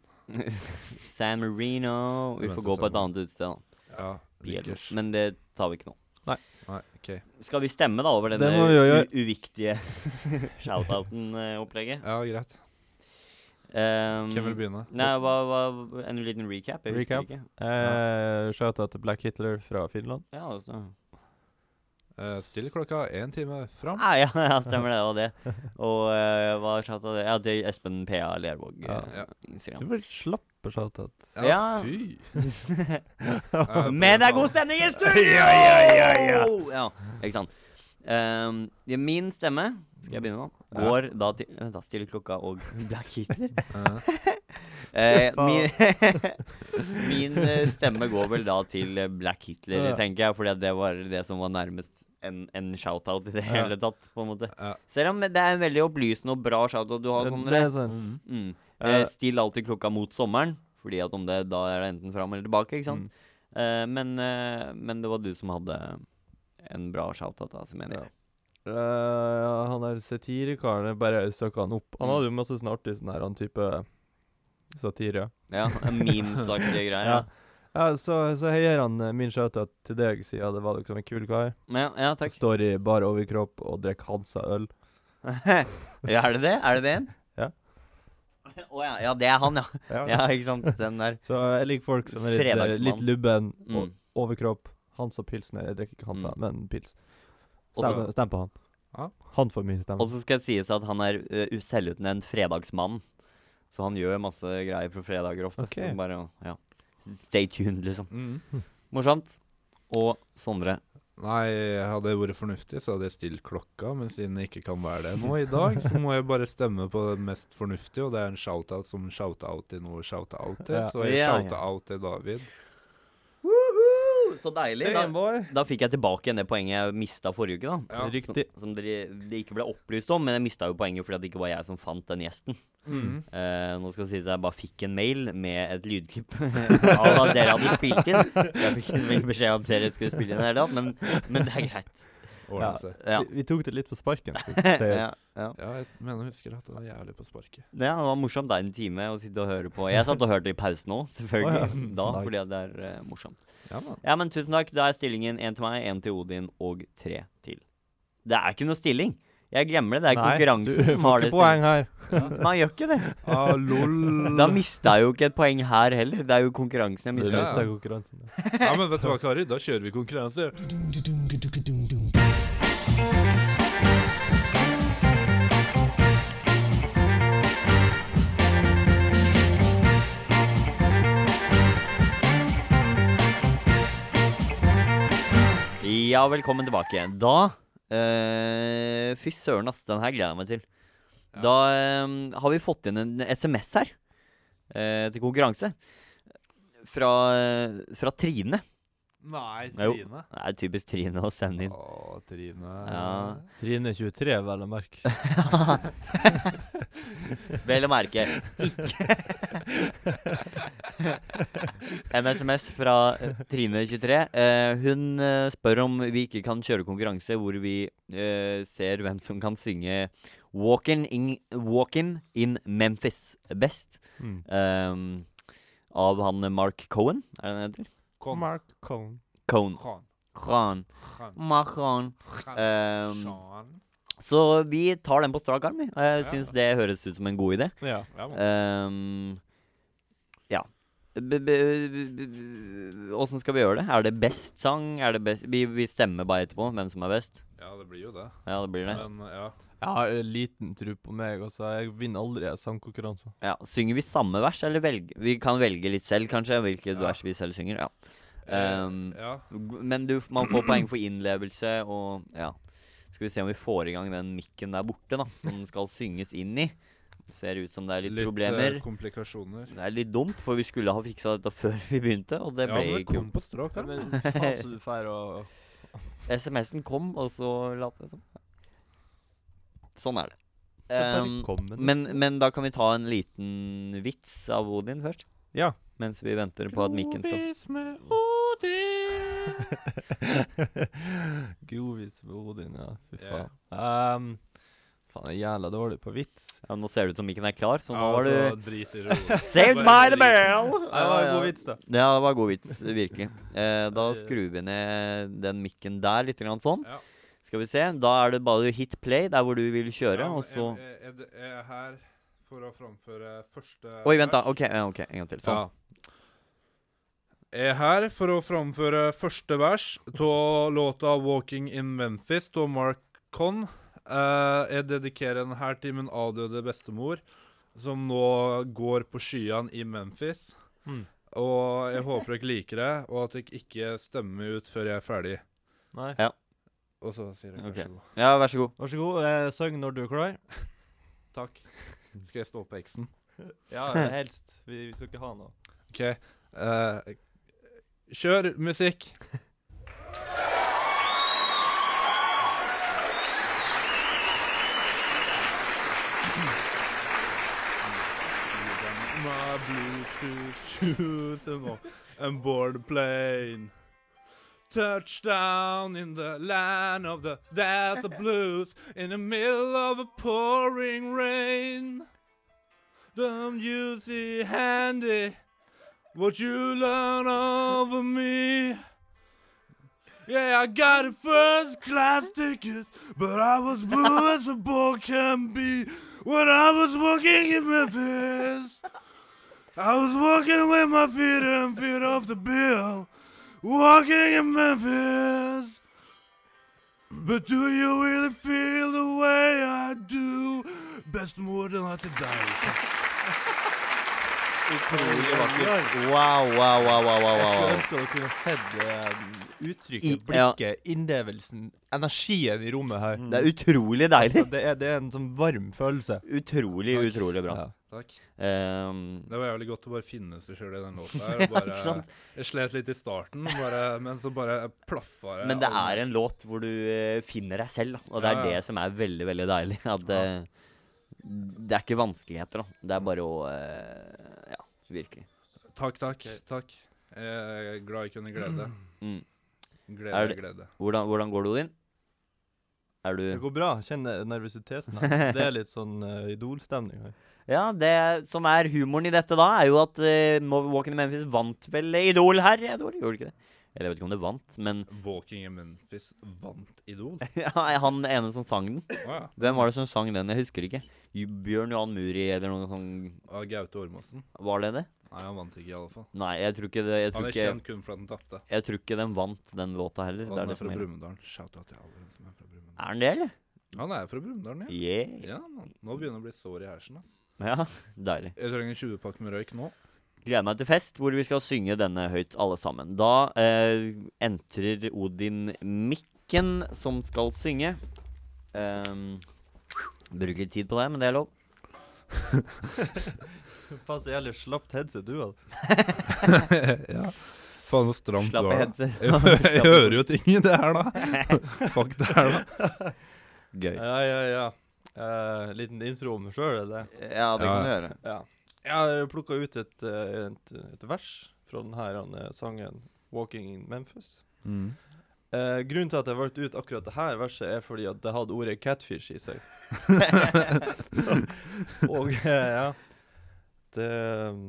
Speaker 2: San Marino Vi
Speaker 1: Det
Speaker 2: får
Speaker 1: venter
Speaker 2: gå på et
Speaker 1: sommer.
Speaker 2: annet utested, da.
Speaker 1: Ja, Vickers.
Speaker 2: Men det tar vi ikke nå.
Speaker 1: Nei, OK.
Speaker 2: Skal vi stemme, da, over
Speaker 3: Det
Speaker 2: denne
Speaker 3: må vi jo
Speaker 2: u- uviktige [LAUGHS] eh, shoutouten-opplegget?
Speaker 1: Ja, greit.
Speaker 2: Um,
Speaker 1: Hvem vil begynne?
Speaker 2: Nei, hva, hva, en liten recap? Jeg husker
Speaker 3: Recap.
Speaker 2: ikke.
Speaker 3: Eh, Shout-out til Black Hitler fra Finland.
Speaker 2: Ja, altså.
Speaker 1: Eh, still klokka én time fram.
Speaker 2: Nei, Ah, ja, [LAUGHS] ja, stemmer det. Og det. Og eh, hva chatta det? Ja, det er Espen P.A. Lervåg.
Speaker 3: Ja.
Speaker 2: eh,
Speaker 1: Ja.
Speaker 3: Du
Speaker 2: Instagram.
Speaker 3: var litt slapp på shout-out.
Speaker 2: Ja.
Speaker 1: fy!
Speaker 2: [LAUGHS]
Speaker 3: Ja,
Speaker 2: Men det er god stemning i studio!
Speaker 3: Ja, ja, ja, ja.
Speaker 2: Ja, ikke sant. Ehm, ja, min stemme Skal jeg begynne nå?
Speaker 1: Ja.
Speaker 2: Går da til Vent, da. Stille klokka og Black Hitler.
Speaker 1: Eh,
Speaker 2: Eh,
Speaker 3: Faen.
Speaker 2: min min [LAUGHS] eh, stemme går vel da til eh, Black Hitler,
Speaker 3: Ja.
Speaker 2: tenker jeg. Fordi at det var det som var nærmest en, en shout-out i det
Speaker 3: Ja.
Speaker 2: hele tatt. på en måte
Speaker 1: ja.
Speaker 2: Selv om det er en veldig opplysende og bra shout-out du har.
Speaker 3: Det
Speaker 2: sånn
Speaker 3: det er sånn
Speaker 2: Mm.
Speaker 3: Eh,
Speaker 2: Eh, still alltid klokka mot sommeren, Fordi at om det, da er det enten fram eller tilbake, ikke
Speaker 3: Mm.
Speaker 2: sant? Eh, men, eh, men det var du som hadde en bra shout-out, altså, mener
Speaker 3: Ja.
Speaker 2: jeg.
Speaker 3: Eh, ja, han der satirikaren, jeg bare søker han opp. Han
Speaker 2: Mm.
Speaker 3: hadde jo masse sånn artig sånn her, han type satire.
Speaker 2: Ja, en
Speaker 3: [LAUGHS]
Speaker 2: memes-aktige greier. ja.
Speaker 3: Ja. Ja, så, så heier han eh, min shoutout til deg, siden det var liksom en kul kar.
Speaker 2: Men, ja, ja,
Speaker 3: Som
Speaker 2: takk.
Speaker 3: står i bar overkropp og drikker Hansa-øl.
Speaker 2: [LAUGHS] ja, er det det? Er det det en?
Speaker 3: Ja.
Speaker 2: Å ja. ja, det er han, ja. Ja, ikke sant. Den der.
Speaker 3: Så jeg liker folk som er litt, eh,
Speaker 2: Fredagsmann.
Speaker 3: litt lubben.
Speaker 2: Mm.
Speaker 3: Og overkropp. Hansa-pilsner. Jeg drikker ikke Hansa,
Speaker 2: Mm.
Speaker 3: men pils.
Speaker 2: Og så-
Speaker 3: Stem, stem på han.
Speaker 1: Ja.
Speaker 3: Han får mye stemme.
Speaker 2: Og så skal det sies at han er uh, selvutnevnt fredagsmann. Så han gjør masse greier på fredager ofte.
Speaker 3: Ok.
Speaker 2: Så bare, ja. Stay tuned, liksom.
Speaker 1: Mm.
Speaker 2: Morsomt. Og Sondre.
Speaker 1: Nei, hadde jeg vært fornuftig, så hadde jeg stilt klokka, men siden jeg ikke kan være det nå i dag, så må jeg bare stemme på det mest fornuftige, og det er en shout-out som shout-out til noe shout-out til,
Speaker 3: Ja.
Speaker 1: så jeg
Speaker 2: Ja, ja.
Speaker 1: shout-out til David.
Speaker 2: Så deilig. Da, da fikk jeg tilbake igjen det poenget jeg mista forrige uke. da
Speaker 1: Ja.
Speaker 3: Riktig.
Speaker 2: Som, som dere, det ikke ble opplyst om, men jeg mista jo poenget fordi at det ikke var jeg som fant den gjesten.
Speaker 1: Mm.
Speaker 2: Eh, nå skal det sies at jeg bare fikk en mail med et lydklipp [LAUGHS] av at dere hadde spilt inn. Jeg fikk ikke beskjed om at dere skulle spille inn i det hele tatt, men, men det er greit.
Speaker 1: Ordnet seg.
Speaker 2: Ja.
Speaker 3: Vi, vi tok det litt på sparken.
Speaker 2: [LAUGHS]
Speaker 3: skal
Speaker 2: ja,
Speaker 3: sies.
Speaker 2: ja.
Speaker 1: Ja, jeg mener jeg husker at det var jævlig på sparket.
Speaker 2: Ja, det var morsomt da, en time å sitte og høre på. Jeg satt og hørte i pausen òg, selvfølgelig.
Speaker 3: Å ja,
Speaker 2: [LAUGHS] Da,
Speaker 3: nice.
Speaker 2: fordi at det er eh, morsomt.
Speaker 1: Ja, man.
Speaker 2: Ja, men tusen takk. Da er stillingen én til meg, én til Odin og tre til. Det er ikke noe stilling. Jeg glemmer det. Det er konkurransen
Speaker 3: du
Speaker 2: som
Speaker 3: får
Speaker 2: har
Speaker 3: ikke
Speaker 2: det.
Speaker 3: poeng her.
Speaker 1: [LAUGHS]
Speaker 2: stillingen. Man gjør ikke det.
Speaker 1: Ah, lol.
Speaker 2: Da mista jeg jo ikke et poeng her heller. Det er jo konkurransen jeg
Speaker 3: Du
Speaker 2: mista.
Speaker 1: Ja.
Speaker 3: løser konkurransen.
Speaker 1: Ja, men vet du hva, Kari? Da kjører vi konkurranse.
Speaker 2: Ja, velkommen tilbake. Da eh, Fy søren, ass. Den her gleder jeg meg til. Da eh, har vi fått inn en SMS her eh, til konkurranse. Fra, eh, fra Trine.
Speaker 1: Nei,
Speaker 2: Jo.
Speaker 1: Trine.
Speaker 2: Det er typisk Trine å sende inn.
Speaker 1: Å, Trine.
Speaker 2: Ja.
Speaker 3: Trine 23, vel å merke.
Speaker 2: [LAUGHS] Vel å merke ikke En SMS fra eh, Trine23. Eh, hun eh, spør om vi ikke kan kjøre konkurranse hvor vi eh, ser hvem som kan synge Walkin' in, Walkin in Memphis best.
Speaker 3: Mm.
Speaker 2: ehm, av han eh, Mark Cohen, er det han heter?
Speaker 1: Kon.
Speaker 3: Mark Cohen.
Speaker 2: Cohen.
Speaker 1: Kon.
Speaker 2: Khan.
Speaker 1: Kon.
Speaker 2: Mark Khan. Ehm,
Speaker 1: Sean.
Speaker 2: så vi tar den på strak arm, vi. Og jeg
Speaker 1: Ja.
Speaker 2: syns det høres ut som en god idé.
Speaker 3: Ja.
Speaker 1: Ja, man.
Speaker 2: Ehm, ja. B- b- b- b- Åssen skal vi gjøre det? Er det best sang? Er det best? Vi, vi stemmer bare etterpå hvem som er best.
Speaker 1: ja, det blir jo det.
Speaker 2: Ja, det blir det.
Speaker 1: Men ja.
Speaker 3: Jeg har eh, liten tro på meg, altså. Jeg vinner aldri sånn sangkonkurranser.
Speaker 2: Ja, Synger vi samme vers, eller velg? Vi kan velge litt selv, kanskje, hvilket
Speaker 1: Ja.
Speaker 2: vers vi selv synger. ja Ehm,
Speaker 1: Eh, ja.
Speaker 2: G- Men du, man får poeng for innlevelse og Ja. Skal vi se om vi får i gang den mikken der borte, da, som den skal synges inn i. Ser ut som det er litt,
Speaker 1: eh,
Speaker 2: problemer.
Speaker 1: komplikasjoner.
Speaker 2: Det er litt dumt, for vi skulle ha fiksa dette før vi begynte, og det
Speaker 1: ja,
Speaker 2: ble
Speaker 1: men det
Speaker 2: ikke
Speaker 1: kom på strak arm.
Speaker 2: [LAUGHS]
Speaker 3: Men faen så du drar og
Speaker 2: SMS-en kom, og så lot vi som. Sånn er det. Ehm, men,
Speaker 3: Men
Speaker 2: men da kan vi ta en liten vits av Odin først.
Speaker 3: Ja.
Speaker 2: Mens vi venter på at mikken Mm. skal
Speaker 1: Grovis med
Speaker 2: [LAUGHS]
Speaker 1: Odin.
Speaker 3: [LAUGHS] Grovis med Odin, ja. Fy
Speaker 1: Ja.
Speaker 3: faen. Ehm, faen, jeg er jævla dårlig på vits.
Speaker 2: ja, Nå ser det ut som mikken er klar, så nå
Speaker 1: Ja,
Speaker 2: var
Speaker 1: altså,
Speaker 2: du
Speaker 1: drit i
Speaker 2: [LAUGHS]
Speaker 1: det.
Speaker 2: Saved by the bell!
Speaker 3: Nei, det var en god vits, da.
Speaker 2: Ja, det var god vits, virkelig. Eh, da skrur vi ned den mikken der, litt grann sånn.
Speaker 1: Ja.
Speaker 2: Skal vi se. Da er det bare å hit play der hvor du vil kjøre, og så
Speaker 1: Jeg, jeg, jeg, jeg er her for å framføre første
Speaker 2: Oi, vent, da.
Speaker 1: vers.
Speaker 2: OK, ja, ok, en gang til. Sånn.
Speaker 1: Ja. Jeg er her for å framføre første vers av låta 'Walking in Memphis' av Mark Conn. Eh, jeg dedikerer den her til min avdøde bestemor, som nå går på skyene i Memphis.
Speaker 3: Mm.
Speaker 1: Og jeg håper dere liker det, og at dere ikke stemmer meg ut før jeg er ferdig.
Speaker 3: Nei.
Speaker 1: Og så sier jeg vær
Speaker 2: Ok.
Speaker 1: så god.
Speaker 2: Ja, vær så god.
Speaker 3: Vær så god, eh, syng når du
Speaker 2: [LAUGHS]
Speaker 3: er klar.
Speaker 1: Takk. Skal jeg stå på X-en?
Speaker 2: [LAUGHS]
Speaker 3: Ja, helst. Vi, vi skal ikke ha noe.
Speaker 1: OK. Eh, kjør musikk. My blue suit shoes and, all, and board the plane. Touchdown in the land of the that the blues in the middle of a pouring rain. Don't use the handy what you learn over me. Yeah, I got a first class ticket, but I was blue as a ball can be when I was walking in Memphis. I was walking with my feet and feet off the bill, walking in Memphis. But do you really feel the way I do? Best mor den har til deg.
Speaker 3: Utrolig
Speaker 1: Oi,
Speaker 3: vakkert.
Speaker 2: Wow, wow, wow, wow, wow, wow.
Speaker 3: Jeg skulle ønske dere kunne sett eh,
Speaker 2: I-
Speaker 3: uttrykket,
Speaker 2: ja.
Speaker 3: blikket, innlevelsen, energien i rommet her.
Speaker 2: Det er utrolig deilig.
Speaker 3: Altså, det, er, det er en sånn varm følelse.
Speaker 2: Utrolig,
Speaker 3: Takk.
Speaker 2: utrolig bra.
Speaker 3: Ja.
Speaker 1: Takk.
Speaker 2: Ehm,
Speaker 1: Det var jævlig godt å bare finne seg sjøl i den låta her.
Speaker 2: [LAUGHS] Ja,
Speaker 1: og Bare,
Speaker 2: ikke sant?
Speaker 1: jeg slet litt i starten, bare, men så bare plaffa det.
Speaker 2: men det
Speaker 1: all-
Speaker 2: er en låt hvor du eh, finner deg selv, da. Og det er
Speaker 1: Ja, ja.
Speaker 2: det som er veldig, veldig deilig. At eh, det er ikke vanskeligheter, da. Det er bare å eh, Ja, virkelig.
Speaker 1: Takk, takk. takk. Jeg er glad jeg kunne glede.
Speaker 2: Mm.
Speaker 1: Glede,
Speaker 2: Er det-
Speaker 1: glede.
Speaker 2: Hvordan, hvordan går det, Odin? Er du
Speaker 3: Det går bra. Jeg Kjenner
Speaker 2: [LAUGHS]
Speaker 3: nervøsiteten. her. Det er litt sånn eh, idolstemning her.
Speaker 2: Ja, det som er humoren i dette da, er jo at eh, Mo- Walking in Memphis vant vel Idol her i et år, gjorde det ikke det? Eller jeg vet ikke om det vant, men [LAUGHS]
Speaker 1: Walking in Memphis vant Idol. Å
Speaker 2: ja, han ene som sang den.
Speaker 1: ja.
Speaker 2: Hvem var det som sang den? Jeg husker ikke. Ju- Bjørn Johan Muri eller noe sånn
Speaker 1: Av Gaute Ormåsen.
Speaker 2: Var det det?
Speaker 1: Nei, han vant ikke, i alle fall.
Speaker 2: Nei, jeg tror ikke det. Jeg
Speaker 1: Han
Speaker 2: tror
Speaker 1: er
Speaker 2: ikke,
Speaker 1: kjent kun for at han tapte.
Speaker 2: jeg tror ikke den vant den låta
Speaker 1: Og
Speaker 2: heller.
Speaker 1: Han
Speaker 2: Det er
Speaker 1: er
Speaker 2: det som
Speaker 1: fra
Speaker 2: er
Speaker 1: Brumunddal. Shout-out til alle som er fra Brumunddal.
Speaker 2: Er den det, eller?
Speaker 1: Han er fra Brumunddal, ja.
Speaker 2: Yeah.
Speaker 1: Ja, man. Nå begynner det å bli sår i hersen. ass.
Speaker 2: Ja, [LAUGHS] deilig.
Speaker 1: Jeg trenger en 20-pakk med røyk nå. [LAUGHS]
Speaker 2: Gleder meg til fest hvor vi skal synge denne høyt alle sammen. Da eh, entrer Odin Mikken som skal synge. Um, bruker litt tid på det, men det er lov.
Speaker 3: Pass jævlig slapt headset du altså. hadde.
Speaker 1: ja. Faen, så stramt
Speaker 2: [LAUGHS] Slapp av,
Speaker 1: var det.
Speaker 2: headset.
Speaker 1: [LAUGHS] Jeg, jeg hører jo ting i det her, [LAUGHS] da. Fuck det her, da.
Speaker 2: Gøy.
Speaker 3: Ja, ja, ja. Eh, liten intro om meg sjøl, er det?
Speaker 2: Ja, det kan du gjøre.
Speaker 3: Ja. Jeg har plukka ut et, eh, et, et vers fra denne eh, sangen 'Walking in Memphis'.
Speaker 1: Mm.
Speaker 3: Eh, grunnen til at jeg valgte ut akkurat det her verset, er fordi at det hadde ordet 'catfish' i seg. så, og eh, ja det, eh,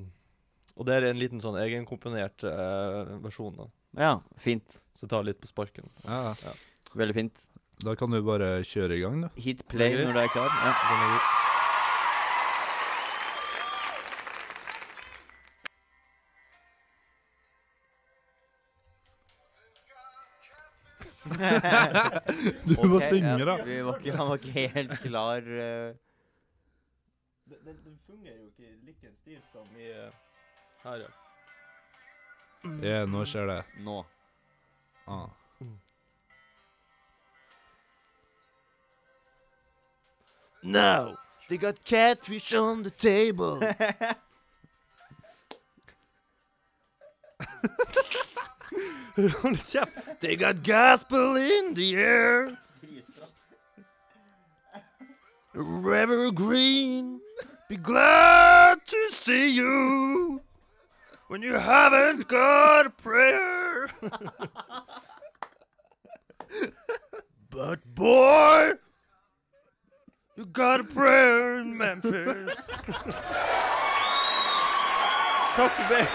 Speaker 3: Og det er en liten sånn egenkomponert eh, versjon, da.
Speaker 2: Ja, fint.
Speaker 3: Så ta litt på sparken.
Speaker 1: Ja, ja.
Speaker 2: Veldig fint.
Speaker 1: Da kan du bare kjøre i gang, du.
Speaker 2: Hit play når du er klar. Ja.
Speaker 3: Den er god.
Speaker 1: [LAUGHS] Du må
Speaker 2: Ok,
Speaker 1: synge,
Speaker 2: ja.
Speaker 1: da.
Speaker 2: Vi var ikke, han var ikke helt klar. eh.
Speaker 3: Den, den, den fungerer jo ikke i like stil som i eh, her, ja.
Speaker 1: Ja, nå skjer det.
Speaker 2: nå.
Speaker 4: Mm.
Speaker 1: Ah.
Speaker 4: Now they got catfish on the table. they got gospel in the air. Reverend Green, be glad to see you when you haven't got a prayer. but boy, you got a prayer in Memphis.
Speaker 3: Takk for meg!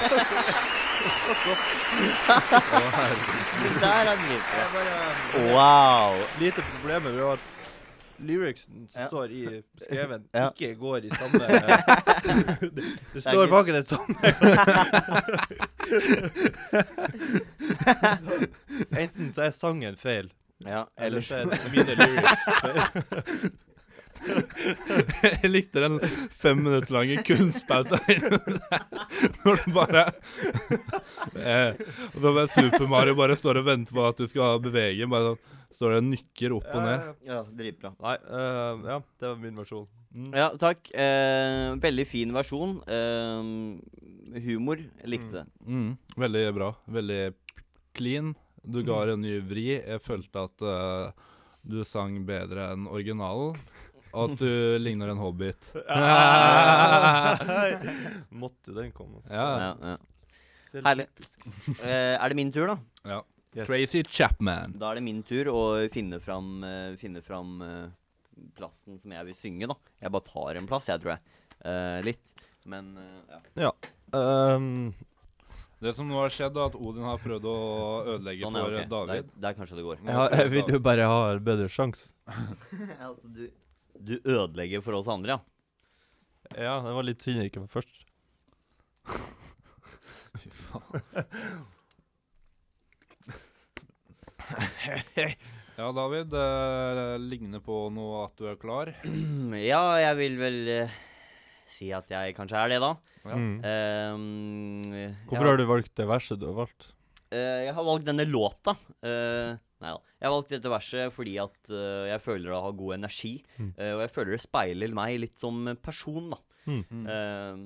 Speaker 2: Det der er dritbra.
Speaker 3: Jeg bare
Speaker 2: Wow.
Speaker 3: Lite problemer ved at lyricsen som
Speaker 2: Ja.
Speaker 3: står i skreven,
Speaker 2: Ja.
Speaker 3: ikke går i samme [LAUGHS] Det, det står
Speaker 2: ikke-
Speaker 3: bak i det [LAUGHS] samme. Så, enten så er sangen feil,
Speaker 2: Ja,
Speaker 3: eller
Speaker 2: ellers
Speaker 3: så er det mine lyrics [LAUGHS] feil.
Speaker 1: [LAUGHS] Jeg likte den fem minutter lange kunstpausa [LAUGHS] når du bare [LAUGHS] eh, Og så bare Super Mario bare står og venter på at du skal bevege den. Bare sånn står og nikker opp og ned.
Speaker 2: Ja, dritbra.
Speaker 3: Nei, øh, ja, det var min versjon.
Speaker 2: Mm. Ja, takk. Eh, veldig fin versjon. Eh, humor. Jeg likte det.
Speaker 1: Mm, veldig bra. Veldig clean. Du
Speaker 2: Mm.
Speaker 1: ga det en ny vri. Jeg følte at eh, du sang bedre enn originalen. at
Speaker 2: [LAUGHS]
Speaker 1: du ligner en hobbit.
Speaker 3: [LAUGHS] Måtte den komme. Altså.
Speaker 1: Ja.
Speaker 2: Ja, ja. Herlig. Eh, er det min tur, da?
Speaker 1: ja.
Speaker 3: Yes.
Speaker 1: Tracy Chapman.
Speaker 2: Da er det min tur å finne fram, eh, finne fram eh, plassen som jeg vil synge, da. Jeg bare tar en plass, jeg, tror jeg. Eh, litt. Men eh, ja.
Speaker 3: Um,
Speaker 1: Det som nå har skjedd, er at Odin har prøvd å ødelegge
Speaker 2: Sånn, ja,
Speaker 1: for
Speaker 2: ok.
Speaker 1: eh, David.
Speaker 2: Der, der kanskje det går.
Speaker 3: jeg, har- jeg vil jo bare ha en bedre sjanse.
Speaker 2: [LAUGHS] altså, du, du ødelegger for oss andre, ja. [CLEARS THROAT]
Speaker 3: Ja, det var litt synd jeg ikke var først.
Speaker 1: Ja, David. Det ligner på noe at du er klar.
Speaker 2: ja, jeg vil vel eh, si at jeg kanskje er det, da.
Speaker 1: Ja.
Speaker 3: Mm.
Speaker 2: Eh,
Speaker 3: Hvorfor
Speaker 2: ja.
Speaker 3: har du valgt det verset du har valgt?
Speaker 2: Eh, jeg har valgt denne låta. Uh, nei da. Jeg har valgt dette verset fordi at eh, jeg føler det har god energi.
Speaker 3: Mm.
Speaker 2: eh, og jeg føler det speiler meg litt som person, da.
Speaker 1: Mm.
Speaker 2: Eh,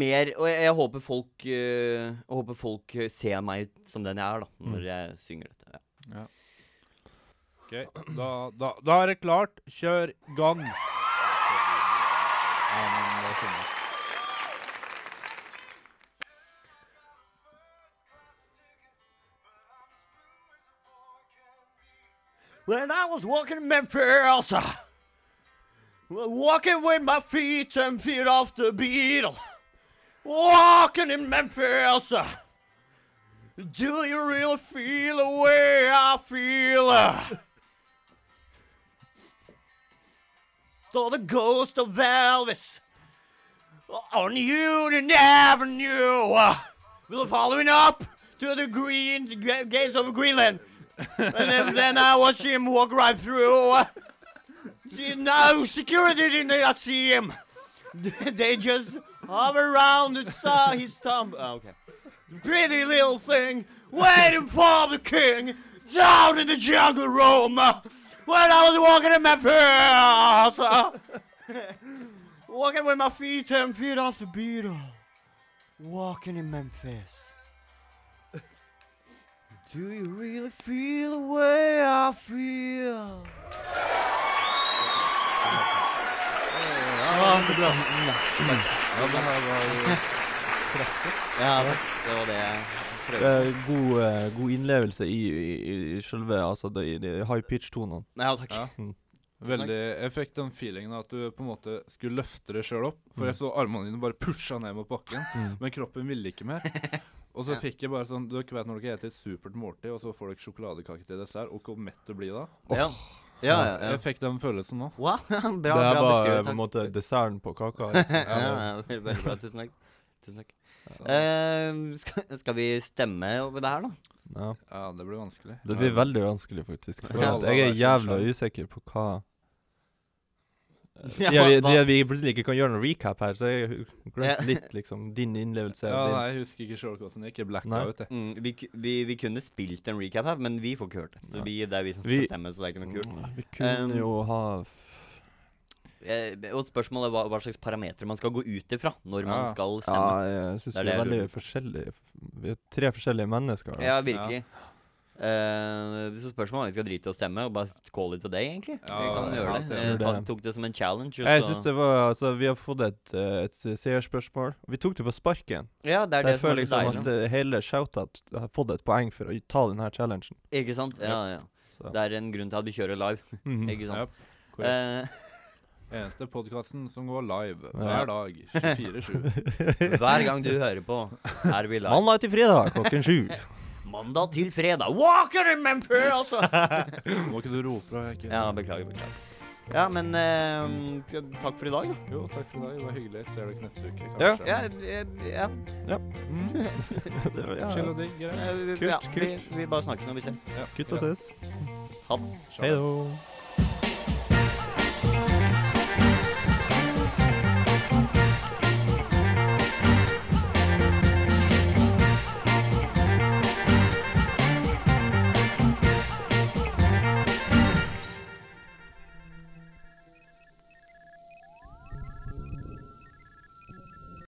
Speaker 2: mer Og jeg, jeg håper folk eh, Jeg håper folk eh, ser meg som den jeg er, da, når
Speaker 3: Mm.
Speaker 2: jeg synger dette. Ja.
Speaker 1: Ok, da, da, da er det klart. Kjør gang. Ja, men det sånn. skjønner jeg.
Speaker 2: When I was walking in Memphis, uh, walking with my feet ten feet off the beat, walking in Memphis, uh, do you really feel the way I feel? uh? Saw the ghost of Elvis on Union Avenue, uh, will following up to the green the gra- gates of Greenland. And then, then I watch him walk right through. No security did not see him. [LAUGHS] They just hover around the saw his thumb. Oh, okay. Pretty little thing waiting for the king down in the jungle room. When I was walking in my first, walking with my feet ten feet off the beetle, walking in Memphis. Do you really feel the way I feel?
Speaker 1: Ja, det her var
Speaker 2: Ja, det var det jeg prøvde.
Speaker 3: Eh, god, eh, god innlevelse i, i, i- i selve altså, de, de high pitch-tonene.
Speaker 2: Ja, takk.
Speaker 1: Ja. [LAUGHS] veldig Jeg fikk den feelingen at du på en måte skulle løfte deg sjøl opp. For jeg så armene dine bare pusha ned mot bakken,
Speaker 3: Mm.
Speaker 1: men kroppen ville ikke mer. Og så fikk jeg bare sånn Dere vet når dere spiser et supert måltid, og så får dere sjokoladekake til dessert, og hvor mett du blir da?
Speaker 2: Ja, ja, ja. ja.
Speaker 1: Jeg fikk den følelsen nå.
Speaker 2: Wow, [LAUGHS] bra,
Speaker 3: Det
Speaker 2: bra
Speaker 3: her var eh,
Speaker 2: beskrevet.
Speaker 3: på en
Speaker 2: Takk.
Speaker 3: måte desserten på [LAUGHS] kaka. liksom.
Speaker 2: Ja, ja, veldig, veldig bra. Tusen takk. Tusen takk.
Speaker 1: Så,
Speaker 2: Eh, skal, skal vi stemme over det her, da?
Speaker 3: Ja.
Speaker 1: ja, det blir vanskelig.
Speaker 3: Det blir veldig vanskelig, faktisk. For
Speaker 1: Ja.
Speaker 3: at jeg er jævla usikker på hva Siden vi,
Speaker 2: hva-
Speaker 3: siden vi plutselig ikke kan gjøre noen recap her, så jeg
Speaker 2: Ja.
Speaker 3: glemte litt liksom din innlevelse.
Speaker 1: Ja,
Speaker 3: din.
Speaker 1: nei, jeg husker ikke sjøl hvordan det gikk. Jeg blacka
Speaker 3: Nei.
Speaker 1: ut, jeg.
Speaker 2: Mm, vi, ku- vi, vi kunne spilt en recap her, men vi får ikke hørt det. Så
Speaker 3: Nei.
Speaker 2: vi, det er vi som
Speaker 3: Vi-
Speaker 2: skal stemme, så det er ikke noe kult.
Speaker 3: Mm, Vi kunne
Speaker 2: Um,
Speaker 3: jo ha f-
Speaker 2: Eh, og spørsmålet er hva, hva slags parametere man skal gå ut ifra når man
Speaker 1: Ja.
Speaker 2: skal
Speaker 3: Ja,
Speaker 2: stemme.
Speaker 3: jeg syns
Speaker 2: Det er
Speaker 3: vi er
Speaker 2: det jeg
Speaker 3: veldig
Speaker 2: lurer
Speaker 3: forskjellige. Vi er tre forskjellige mennesker. da.
Speaker 2: Ja, virkelig. Eh, så spørsmålet er om vi skal drite i å stemme og bare call it a day, egentlig. vi
Speaker 1: Ja,
Speaker 2: kan
Speaker 1: jeg
Speaker 2: gjøre
Speaker 1: tror
Speaker 2: det.
Speaker 1: det.
Speaker 2: Jeg ta,
Speaker 3: Det-
Speaker 2: tok det som en challenge. og
Speaker 3: Jeg
Speaker 2: så-
Speaker 3: syns det var Altså, vi har fått et, eh, et seerspørsmål. Vi tok det på sparken.
Speaker 2: Ja, det er det
Speaker 3: så
Speaker 2: som
Speaker 3: jeg
Speaker 2: er så
Speaker 3: føler liksom
Speaker 2: deilig.
Speaker 3: at eh, hele shoutout har fått et poeng for å ta denne challengen.
Speaker 2: Ikke sant? Ja, ja.
Speaker 3: Så.
Speaker 2: Det er en grunn til at vi kjører live,
Speaker 3: Mhm.
Speaker 2: ikke sant?
Speaker 1: Ja,
Speaker 2: Eh,
Speaker 1: Eneste podkasten som går live
Speaker 3: Ja.
Speaker 1: hver dag
Speaker 3: [LAUGHS]
Speaker 1: 24-7.
Speaker 2: Eh, hver gang du hører på, er vi live.
Speaker 3: Mandag til fredag klokken sju. [LAUGHS]
Speaker 2: Mandag til fredag. Walker in Memphis, altså!
Speaker 3: [LAUGHS]
Speaker 1: Må ikke du rope da, Jekke?
Speaker 2: Ja, beklager, beklager. Ja, men eh, skal- takk for i dag, da.
Speaker 1: Jo, takk for i dag. Det var hyggelig. Jeg ser dere neste uke,
Speaker 3: Ja.
Speaker 1: kanskje. Mm.
Speaker 2: Ja, ja, ja.
Speaker 3: Det var- ja.
Speaker 1: Chill og digg. greit.
Speaker 2: Eh, vi-
Speaker 3: Kult,
Speaker 2: ja, Vi,
Speaker 3: kult.
Speaker 2: vi bare snakkes når vi ses.
Speaker 3: Kutt og ses.
Speaker 2: Ha det.
Speaker 3: Hei då.